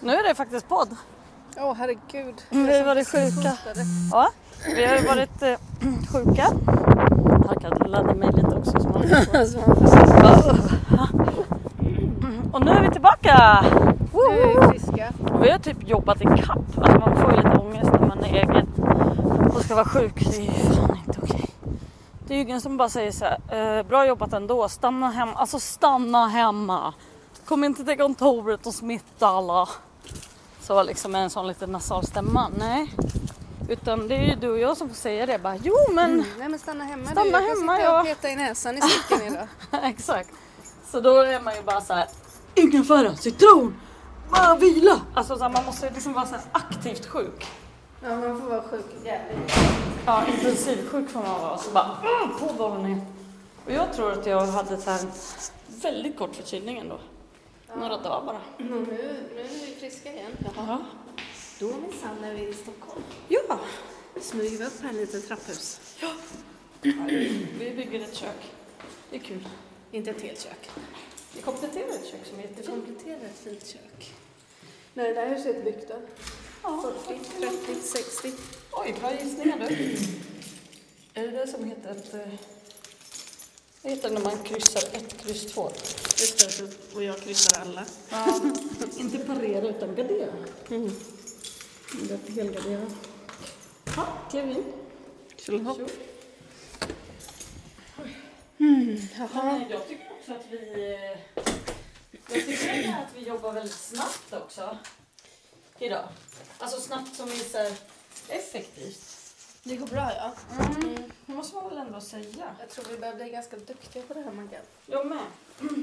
Nu är det faktiskt podd. Åh herregud. Mm, vi var det sjuka. Ja, vi har ju varit eh, sjuka. Harkade laddade mig lite också. Som man Alltså, man får se. bara, "Ugh." Mm, och nu är vi tillbaka! Nu är vi friska. Och vi har typ jobbat i kapp. Alltså man får ju lite ångest när man är egen och ska vara sjuk. Det är ju fan inte okej. Det är ju ingen som bara säger så här, eh, bra jobbat ändå, stanna hemma. Alltså stanna hemma. Kom inte till kontoret och smitta alla. Så liksom en sån liten nasal stämma. Nej. Utan det är ju du och jag som får säga det bara, jo men Nej men stanna hemma Stanna du. Jag kan hemma, sitta ja. och peta i näsan i cykeln idag. Mm. Exakt. Så då är man ju bara så här. Ingefära, citron, bara vila. Alltså så här, man måste ju liksom vara så här aktivt sjuk. Ja man får vara sjuk jävligt. Ja, intensivsjuk får man vara. Och Så bara mm, på bollen Och jag tror att jag hade så här en väldigt kort förkylning ändå. Några dagar bara. Nu, nu är vi friska igen. Ja. Då minsann är vi i Stockholm. ja. Smyger vi upp här lite trapphus. Vi bygger ett kök. Det är kul. Inte ett helt kök. Vi kompletterar ett kök som är jättefint. Kompletterar ett fint kök. När det där huset byggt då? Ja. 40, 30, 60. Oj, bra gissningar du. Är det det som heter ett... eh, Det heter när man kryssar ett, kryss två. Just det, och jag kryssar alla. Ja, inte parera utan gardera. Det är helgardera. Ja, Kevin. Tjolahopp. Tjo. Jaha. Nej, jag tycker också att vi... eh, Jag tycker att vi jobbar väldigt snabbt också. Idag. Alltså snabbt som är så här effektivt. Det går bra ja. Mm. Det måste man väl ändå säga. Jag tror vi börjar bli ganska duktiga på det här Maggan. Jag med.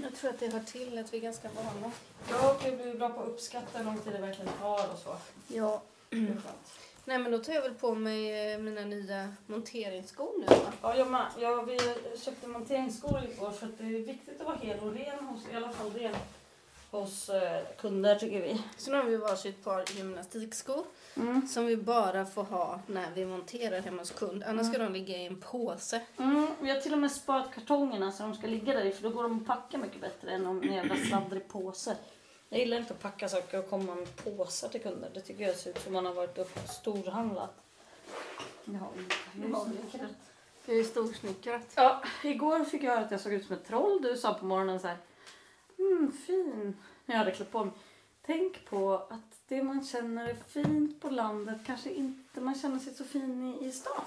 Jag tror att det hör till att vi är ganska vana. Jag har blivit bra på att uppskatta hur lång tid det verkligen tar och så. Ja. Det är skönt. Nej men då tar jag väl på mig eh, mina nya monteringsskor nu va? Ja, jag med. Jag, vi köpte monteringsskor igår för att det är viktigt att vara hel och ren hos, i alla fall ren hos eh, kunder tycker vi. Så nu har vi varsitt par gymnastikskor Mm. som vi bara får ha när vi monterar hemma hos kund. Annars ska de ligga i en påse. Mm, vi har till och med sparat kartongerna så de ska ligga där i för då går de att packa mycket bättre än om en jävla sladdrig påse. Jag gillar inte att packa saker och komma med påsar till kunder. Det tycker jag ser ut som man har varit och storhandlat. Det har vi inte. Det har vi inte. Det är storsnickrat. Ja, igår fick jag höra att jag såg ut som ett troll. Du sa på morgonen så här. Mm, fin. När jag hade klätt på mig. Tänk på att det man känner är fint på landet kanske inte man känner sig så fin i, i stan.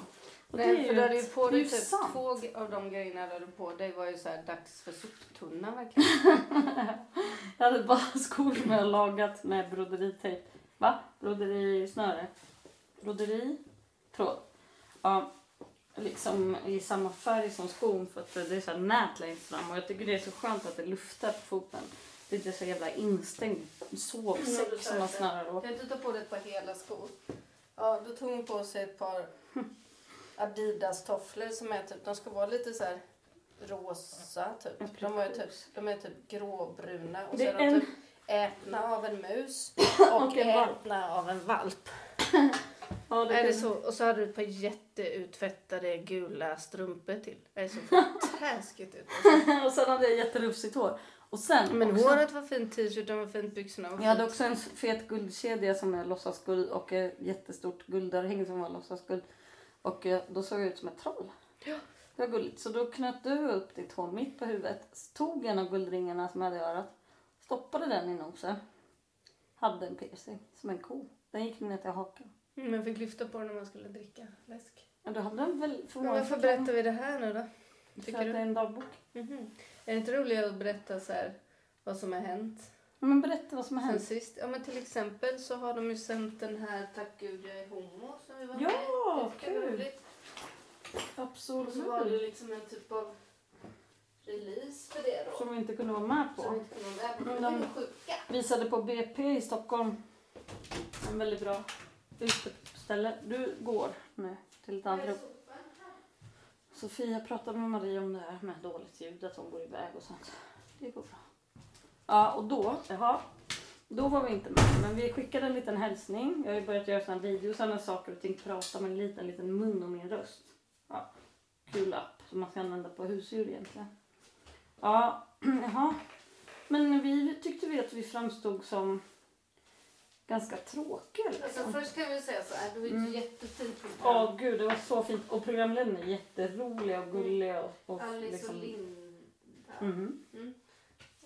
Och Nej, för du hade ju ett- på det är dig ju typ sant. två g- av de grejerna du hade på dig var ju så här dags för soptunna verkligen. Jag hade bara skor som jag lagat med broderitejp. Va? Broderisnöre? Broderi? Tråd. Ja, liksom i samma färg som skon för att det är så här nät längst fram och jag tycker det är så skönt att det luftar på foten. Det är inte så jävla instängd Mm, det sovsäck är som man sant. snarare åt. Kan du ta på dig ett par hela skor? Ja, då tog hon på sig ett par Adidas-tofflor som är typ, de ska vara lite så här rosa Ja, typ. De är typ, precis. de är typ gråbruna och så Det är är de en- typ ätna av en mus Och och en valp. ätna av en valp. Ja, Är det kan- så? Och så hade du ett par jätteutfettade gula strumpor till. Det är så fantastiskt ut. alltså. och sen hade jag jätterufsigt hår. Och sen Men också- håret var fint, t-shirten var fint, byxorna var Jag hade fint. också en fet guldkedja som jag låtsas guld och ett jättestort guldörhänge som var låtsas guld. Och eh, då såg jag ut som ett troll. Ja. Det var gulligt. Så då knöt du upp ditt hår mitt på huvudet, tog en av guldringarna som jag hade i örat, stoppade den i nosen, hade en piercing som en ko. Den gick ner till hakan. Mm, Men fick lyfta på den när man skulle dricka läsk. Ja, du hade en väl Men varför berättar vi det här nu då? För tycker att du? det är en dagbok. Mhm. Är det inte roligare att berätta så här, vad som har hänt Men berätta vad som har sen hänt. sist? Ja men till exempel så har de ju sänt den här Tack gud jag är homo som vi var Ja, med i. Det var kul. roligt. Och så var det Absolut. liksom en typ av release för det då. Som vi inte kunde vara med på. Som inte kunde vara med på. Mm, De var ju sjuka. visade på BP i Stockholm. En väldigt bra uteställe. Du går nu till ett andrum. Sofia pratade med Marie om det här med dåligt ljud, att hon går iväg och sånt. Det går bra. Ja, och då, jaha, då var vi inte med. Men vi skickade en liten hälsning. Jag har ju börjat göra såna här videos när saker och ting pratar med en liten, liten mun och min röst. Ja, kul app som man ska använda på husdjur egentligen. Ja, jaha. Men vi tyckte vi att vi framstod som ganska tråkiga Alltså, liksom. först kan vi säga så här, det var ju Mm. ett jättefint Ja, program. gud, det var så fint. Och programledarna är jätteroliga och gulliga. Och, och Alice och liksom... Linda. Mhm.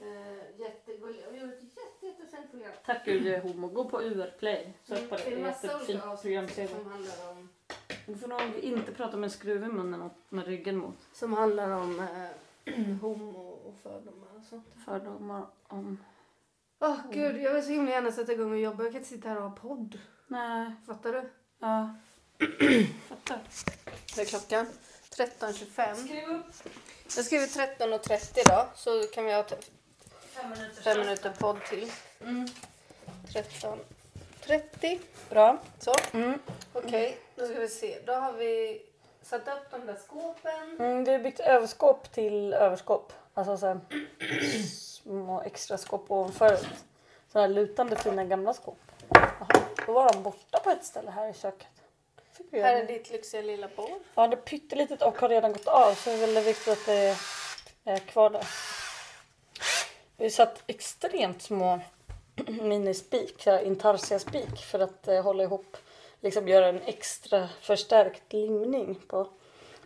Eh, jättegulliga. Och vi gjorde ett jätte, jättefint program. Tack gud, jag är homo. Gå på UR-play. Sök Mm, på det. Det Det är är en massa jättefint olika avsnitt programserie. som handlar om... Du får nog inte prata med en skruv i munnen och med ryggen mot. Som handlar om eh, homo och fördomar och sånt. Fördomar om... Åh gud, jag vill så himla gärna sätta igång och jobba. Jag kan inte sitta här och ha podd. Nej, Fattar du? ja. Fattar. Vad är klockan? 13.25. Skriv upp Jag skriver 13.30 då, så kan vi ha t- fem minuter. fem minuter podd till. Mm. 13.30. Bra. Så. Mm. Okej, då ska vi se. Då har vi satt upp de där skåpen. Mm, det är byggt överskåp till överskåp. Alltså så här, små extra skåp ovanför. Sådana här lutande fina gamla skåp. Jaha, då var de borta på ett ställe här i köket. Fick vi Här göra är det. ditt lyxiga lilla bord. Ja, det är pyttelitet och har redan gått av så det är väldigt viktigt att det är kvar där. Vi satt extremt små minispik, så här intarsiaspik för att eh, hålla ihop, liksom göra en extra förstärkt limning på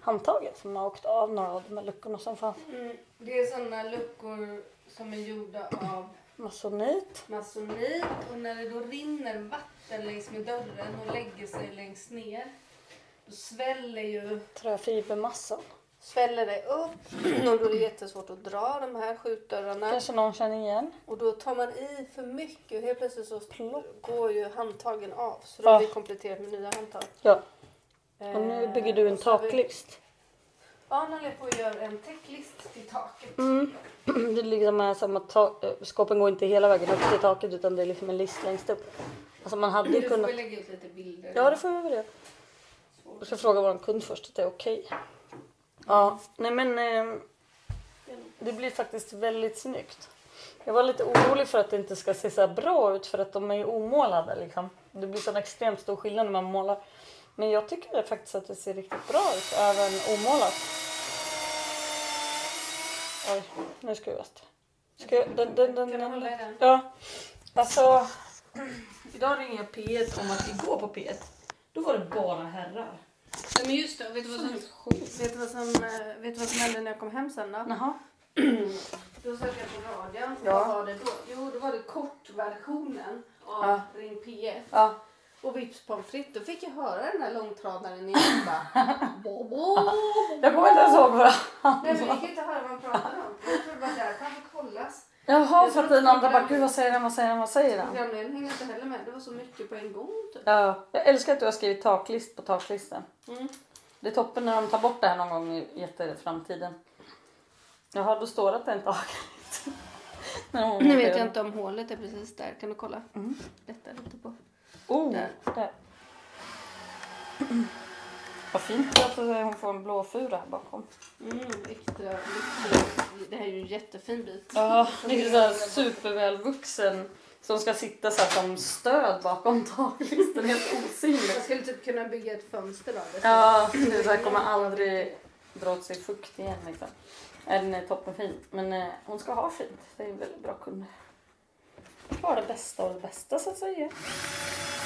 handtaget som har åkt av några av de här luckorna som fanns. Mm. Det är sådana luckor som är gjorda av Masonit. masonit och när det då rinner vatten längs med dörren och lägger sig längst ner då sväller ju Träfibermassan. sväller det upp och då är det jättesvårt att dra de här skjutdörrarna Kanske någon känner igen. och då tar man i för mycket och helt plötsligt så Plopp. går ju handtagen av så då har Ja. vi kompletterat med nya handtag. Ja. Och nu Eh, bygger du en och så har vi- taklist. Ja, nu håller jag på att göra en täcklist till taket. Mm. Det är liksom är samma ta- eh, skåpen går inte hela vägen upp till taket utan det är liksom en list längst upp. Alltså man hade ju Du får kunnat... vi lägga ut lite bilder. Ja det får vi väl göra. Jag ska fråga vår kund först att det är okej. Ja, nej men eh, det blir faktiskt väldigt snyggt. Jag var lite orolig för att det inte ska se så här bra ut för att de är ju omålade liksom. Det blir sån extremt stor skillnad när man målar. Men jag tycker faktiskt att det ser riktigt bra ut även omålat. Oj, nu skruvas det. Ska jag, den, den, den, Kan du hålla i den, den? ja, alltså. Idag ringer jag P1 om att igår på P1, då var det bara herrar. Nej, Men just det, vet du vad som, vet du vad som, eh, vet du vad som hände när jag kom hem sen då? Jaha. Då satt jag på radion. Ja. Vad var det då? Jo, då var det kortversionen av Ja. Ring PF. Ja. Och vips pommes frites, då fick jag höra den där långtradaren igen. Bara, bo, bo, bo, Jag kommer inte ens ihåg vad jag... Nej, men jag fick inte höra vad han pratade om. Jag tror det var därför han fick kollas. Jaha, för att den andra bara gud vad säger den, vad säger den, vad säger den? Programledaren hängde inte heller med. Det var så mycket på en gång. Typ. Ja, jag älskar att du har skrivit taklist på taklistan. Mm. Det är toppen när de tar bort det här någon gång i jätteframtiden. Jaha, då står det att det är en taklist. När de Nu vet jag inte om hålet är precis där. Kan du kolla? Mm. Lätta lite på. Oh, Där. där. Vad fint att eh, hon får en blå fura här bakom. Mm, extra, extra. Det här är ju en jättefin bit. Ja, det är så här supervälvuxen som ska sitta så här som stöd bakom taklistan, helt osynlig. Jag skulle typ kunna bygga ett fönster av det. Ja, det så här kommer aldrig dra åt sig fukt igen. Liksom. Nej, Den är toppenfin. Men eh, hon ska ha fint. Det är en väldigt bra kund. Bara det bästa av det bästa så att säga.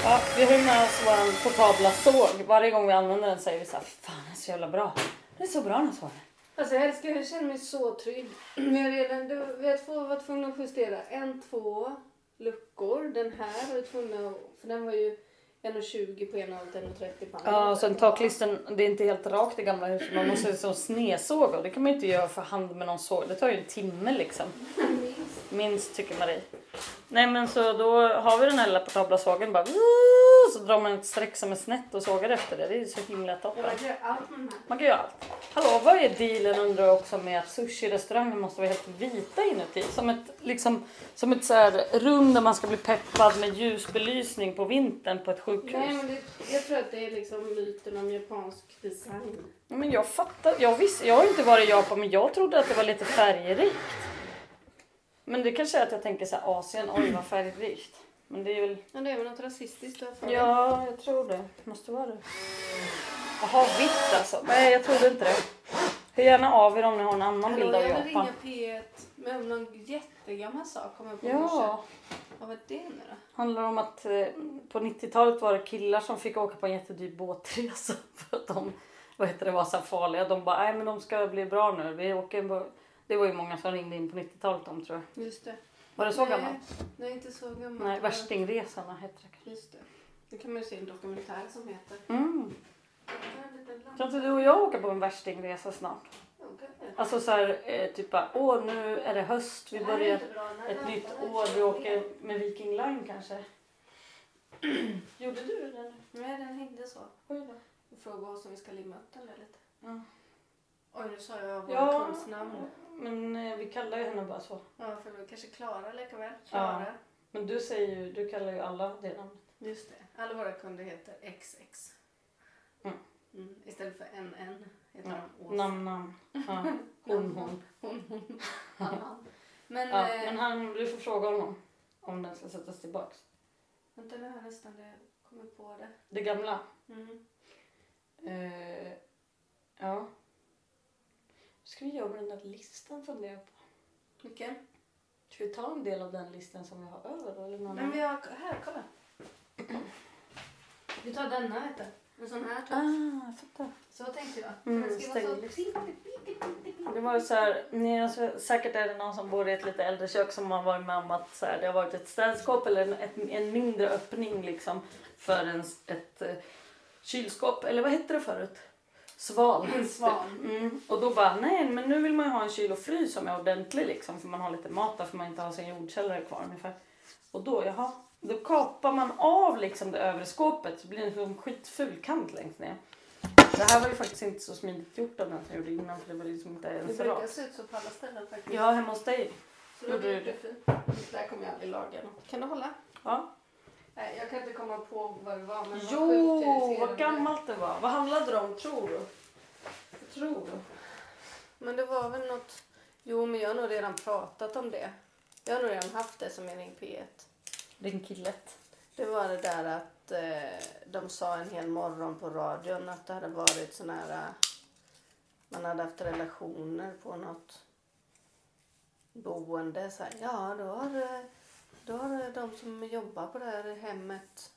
Ja, vi har ju med oss vår portabla såg. Varje gång vi använder den säger vi så här, fan den är så jävla bra. Den är så bra den här sågen. Alltså jag älskar, jag känner mig så trygg. Vi har redan, du, vi har två, varit tvungna att justera en, två luckor. Den här var vi tvungna att, för den var ju 1,20 på ena hållet, 1,30 på andra. Ja, och hållet. sen taklisten, det är inte helt rakt i gamla huset. Man måste som snesåga och det kan man ju inte göra för hand med någon såg. Det tar ju en timme liksom. Minst tycker Marie. Nej men så då har vi den här lilla portabla sågen bara så drar man ett streck som är snett och sågar efter det. Det är ju så himla Och toppen. man gör allt med den här. Man kan göra allt. Hallå, vad är dealen undrar jag också med att sushi-restauranger måste vara helt vita inuti? Som ett, liksom, som ett så här rum där man ska bli peppad med ljusbelysning på vintern på ett sjukhus. Nej, men det, jag tror att det är liksom myten om japansk design. Ja, Men jag fattar. Jag, visste, jag har ju inte varit i Japan men jag trodde att det var lite färgrikt. Men det kanske är att jag tänker så här Asien, oj vad färgrikt. Men det är väl... Ja, det är väl något rasistiskt där för Ja, jag tror det. Måste vara det. Jaha, vitt alltså. Nej, jag trodde inte det. Hör gärna av er om ni har en annan Hallå, bild av jag vill Japan. ringa P1 med om någon jättegammal sak kommer jag på i morse. Ja. Vad var det nu då? Handlar om att eh, på 90-talet var det killar som fick åka på en jättedyr båtresa för att de vad heter det, var så här farliga. De bara, nej men de ska bli bra nu. Vi åker på... Det var ju många som ringde in på 90-talet om tror jag. Just det. Var det så Nej, gammalt? Nej, inte så gammalt. Nej, Värstingresorna heter det kanske. Just det. Nu kan man ju se en dokumentär som heter... Mm. Här är en liten lampa. Kan inte du och jag åka på en värstingresa snart? Jo, kan jag. Alltså så här, eh, typ bara, åh nu är det höst, vi Det här är börjar inte bra. Den här ett lampan nytt är år, vi fel. åker med Viking Line kanske. Gjorde du det? Nej, den hängde så. Oj då. Vi frågade oss om vi ska limma upp den där lite. Ja. Oj, nu sa jag vårt Ja. konstnamn. Men eh, vi kallar ju henne bara så. Ja, för vi kanske Klara lika väl. Klara. Men du säger ju, du kallar ju alla det namnet. Just det. Alla våra kunder heter XX. Mm. Mm. Istället för NN heter Ja. de Ås. Namn, namn. Ja. Hon, hon. Hon, hon, han, han. Men, Ja, eh, men han, du får fråga honom om den ska sättas tillbaks. vänta nu har jag nästan det. kommer på det. Det gamla. Mm. Eh, ja. Ska vi göra med den där listan funderar jag på. Vilken? Ska vi ta en del av den listan som vi har över då? Eller någon Men vi har, här kolla. Vi tar denna vet du. En sån här typ. Ah, jag fattar. Så tänkte jag. Mm, Men det ska vara så stänglist. pitti, pitti, pitti, pitti. Mm. Det var ju så här, ni har sä- säkert är det någon som bor i ett lite äldre kök som har varit med om att så här, det har varit ett städskåp eller en, ett, en mindre öppning liksom för en, s- ett eh, kylskåp, eller vad hette det förut? Sval. En svan. Mm. Och då bara, nej men nu vill man ju ha en kyl och frys som är ordentlig liksom för man har lite mat där för man inte har sin jordkällare kvar ungefär. Och då, jaha, då kapar man av liksom det övre skåpet så blir det en skitful kant längst ner. Det här var ju faktiskt inte så smidigt gjort av den som gjorde innan för det var liksom inte Det ens brukar rakt. se ut så på alla ställen faktiskt. Ja, hemma hos dig. Så det gjorde du blir jättefint. Det där kommer jag aldrig laga. något. Kan du hålla? Ja. Nej, jag kan inte komma på vad det var. Men vad sjukt Jo, irriterande. vad gammalt det var. Vad handlade det om tror du? Vad tror du? Men det var väl något. Jo, men jag har nog redan pratat om det. Jag har nog redan haft det som en i P1. Din killet. Det var det där att eh, de sa en hel morgon på radion att det hade varit sån här... eh, Man hade haft relationer på något boende. Så här, ja, då har, eh, då har eh, de som jobbar på det här hemmet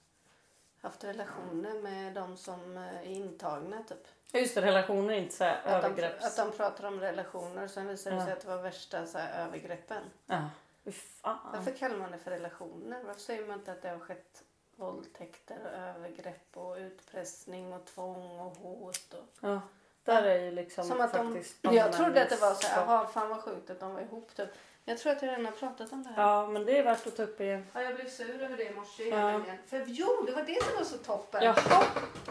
haft relationer med de som eh, är intagna. Typ. Ja, just det, relationer är inte så här Att, de, övergrepps... att de pratar om relationer sen visade det sig Ja. att det var värsta så här, övergreppen. Ja. Fy fan. Varför kallar man det för relationer? Varför säger man inte att det har skett våldtäkter och övergrepp och utpressning och tvång och hot? Och... Ja. Där är ju liksom Som att de... faktiskt... Jag trodde att det var så här, anmälningsstopp. jaha fan vad sjukt att de var ihop typ. Jag tror att jag redan har pratat om det här. Ja, men det är värt att ta upp igen. Ja, jag blev sur över det i morse Ja. igen. För jo, det var det som var så toppen. Jaha.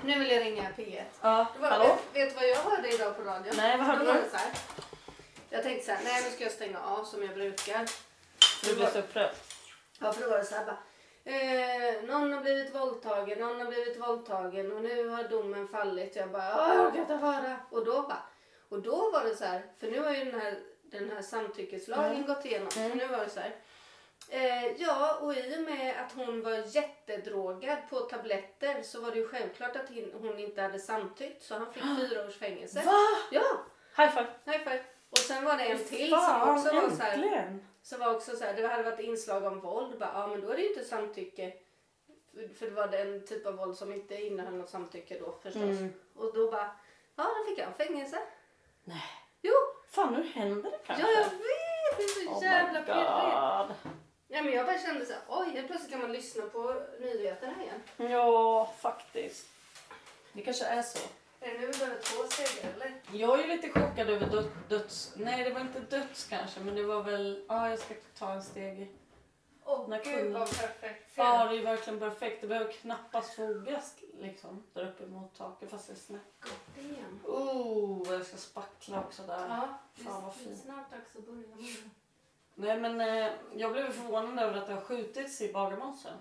Nu vill jag ringa P1. Ja, Det var, hallå? Vet, vet du vad jag hörde idag på radion? Nej, vad hörde Då var du? det så här. Jag tänkte så här, nej nu ska jag stänga av som jag brukar. Du blir så upprörd. Ja, för då var det så här bara. Eh, någon har blivit våldtagen, någon har blivit våldtagen och nu har domen fallit. Jag bara, "Åh, jag orkar inte höra. Och då bara, och då var det så här, för nu har ju den här, den här samtyckeslagen Mm. gått igenom. Så Mm. nu var det så här. Eh, ja, och i och med att hon var jättedrogad på tabletter så var det ju självklart att hin- hon inte hade samtyckt så han fick fyra års fängelse. Va? Ja, High five. high five. Och sen var det en till som Fan, också var så här. äntligen. Så var också så här, det hade varit inslag om våld. Bara, ja, men då är det ju inte samtycke. För- För det var den typ av våld som inte innehöll något samtycke då förstås. Mm. Och då bara, ja då fick han fängelse. Nej. Jo, Fan, nu händer det ja kanske. jag vet! Det är så Oh jävla my pirrigt. god. Nej men jag bara kände så här, oj helt plötsligt kan man lyssna på nyheterna igen. Ja, faktiskt. Det kanske är så. Är det nu vi behöver två segrar eller? Jag är ju lite chockad över dö- döds... Nej, det var inte döds kanske, men det var väl... Ja, jag ska ta en steg i. Åh När gud kungen- vad perfekt. Ja, Ser du? det är ju verkligen perfekt. Det behöver knappast fogas liksom där uppe mot taket fast det är snett. Gott igen. Oh, jag ska spackla också där. Ja, Fan, vad det är fint. snart dags att börja med. Nej men eh, jag blev förvånad över att det har skjutits i Bagarmossen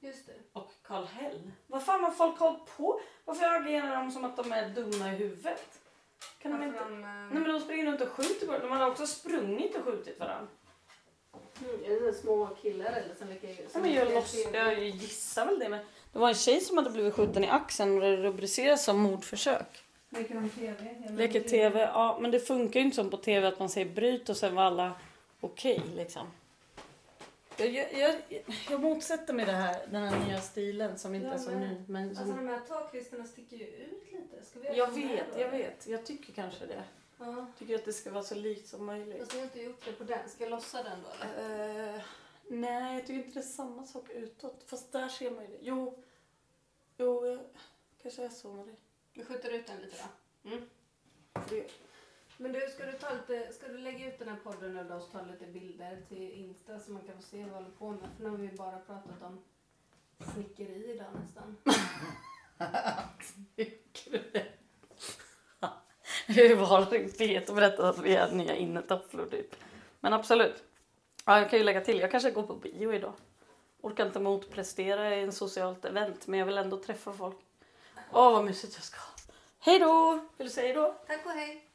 Just det. och Kallhäll. Vad fan har folk hållit på? Varför agerar de som att de är dumma i huvudet? Kan de inte... de, eh, Nej men de springer runt och skjuter på De har också sprungit och skjutit varandra. Mm, är det så små killar eller som vilka Ja, men jag, loss, jag gissar väl det men det var en tjej som hade blivit skjuten i axeln och det rubriceras som mordförsök. Leker de TV? Jag Leker menar, tv, ja men det funkar ju inte som på tv att man säger bryt och sen var alla okej liksom. Jag, jag, jag, jag motsätter mig det här, den här nya stilen som inte Jag är så med. ny. Men Alltså som, de här taklistorna sticker ju ut lite. Ska vi göra jag så här vet, då? jag vet. Jag tycker kanske det. Ja. Tycker att det ska vara så likt som möjligt. Fast ni har inte gjort det på den. Ska jag lossa den då eller? Eh, nej, jag tycker inte det är samma sak utåt. Fast där ser man ju det. Jo, jo jag, kanske är så med det. Vi skjuter ut den lite då. För det Men du, ska du, ta lite, ska du lägga ut den här podden nu då och ta lite bilder till Insta så man kan få se vad vi håller på med? För nu har vi bara pratat om snickeri idag nästan. Jag är bara fet och berättat att vi är nya innetofflor typ. Men absolut. Ja, jag kan ju lägga till, jag kanske går på bio idag. Orkar inte motprestera i en socialt event men jag vill ändå träffa folk. Åh vad mysigt jag ska ha. Hej då! Vill du säga hej då? Tack och hej!